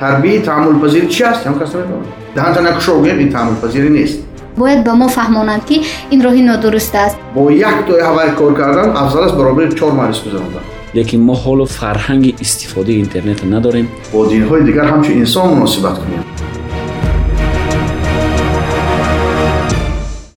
حربی تعامل پذیر چی هست هم کس نمیدونه دهن تنک شوگیر این تعامل پذیری نیست باید به ما فهمانند که این راهی نادرست است با یک توی هوای کار کردن افضل است برابر چهار مریض بزنوندن لیکن ما حالا فرهنگ استفاده اینترنت نداریم با دین های دیگر همچه انسان مناسبت کنیم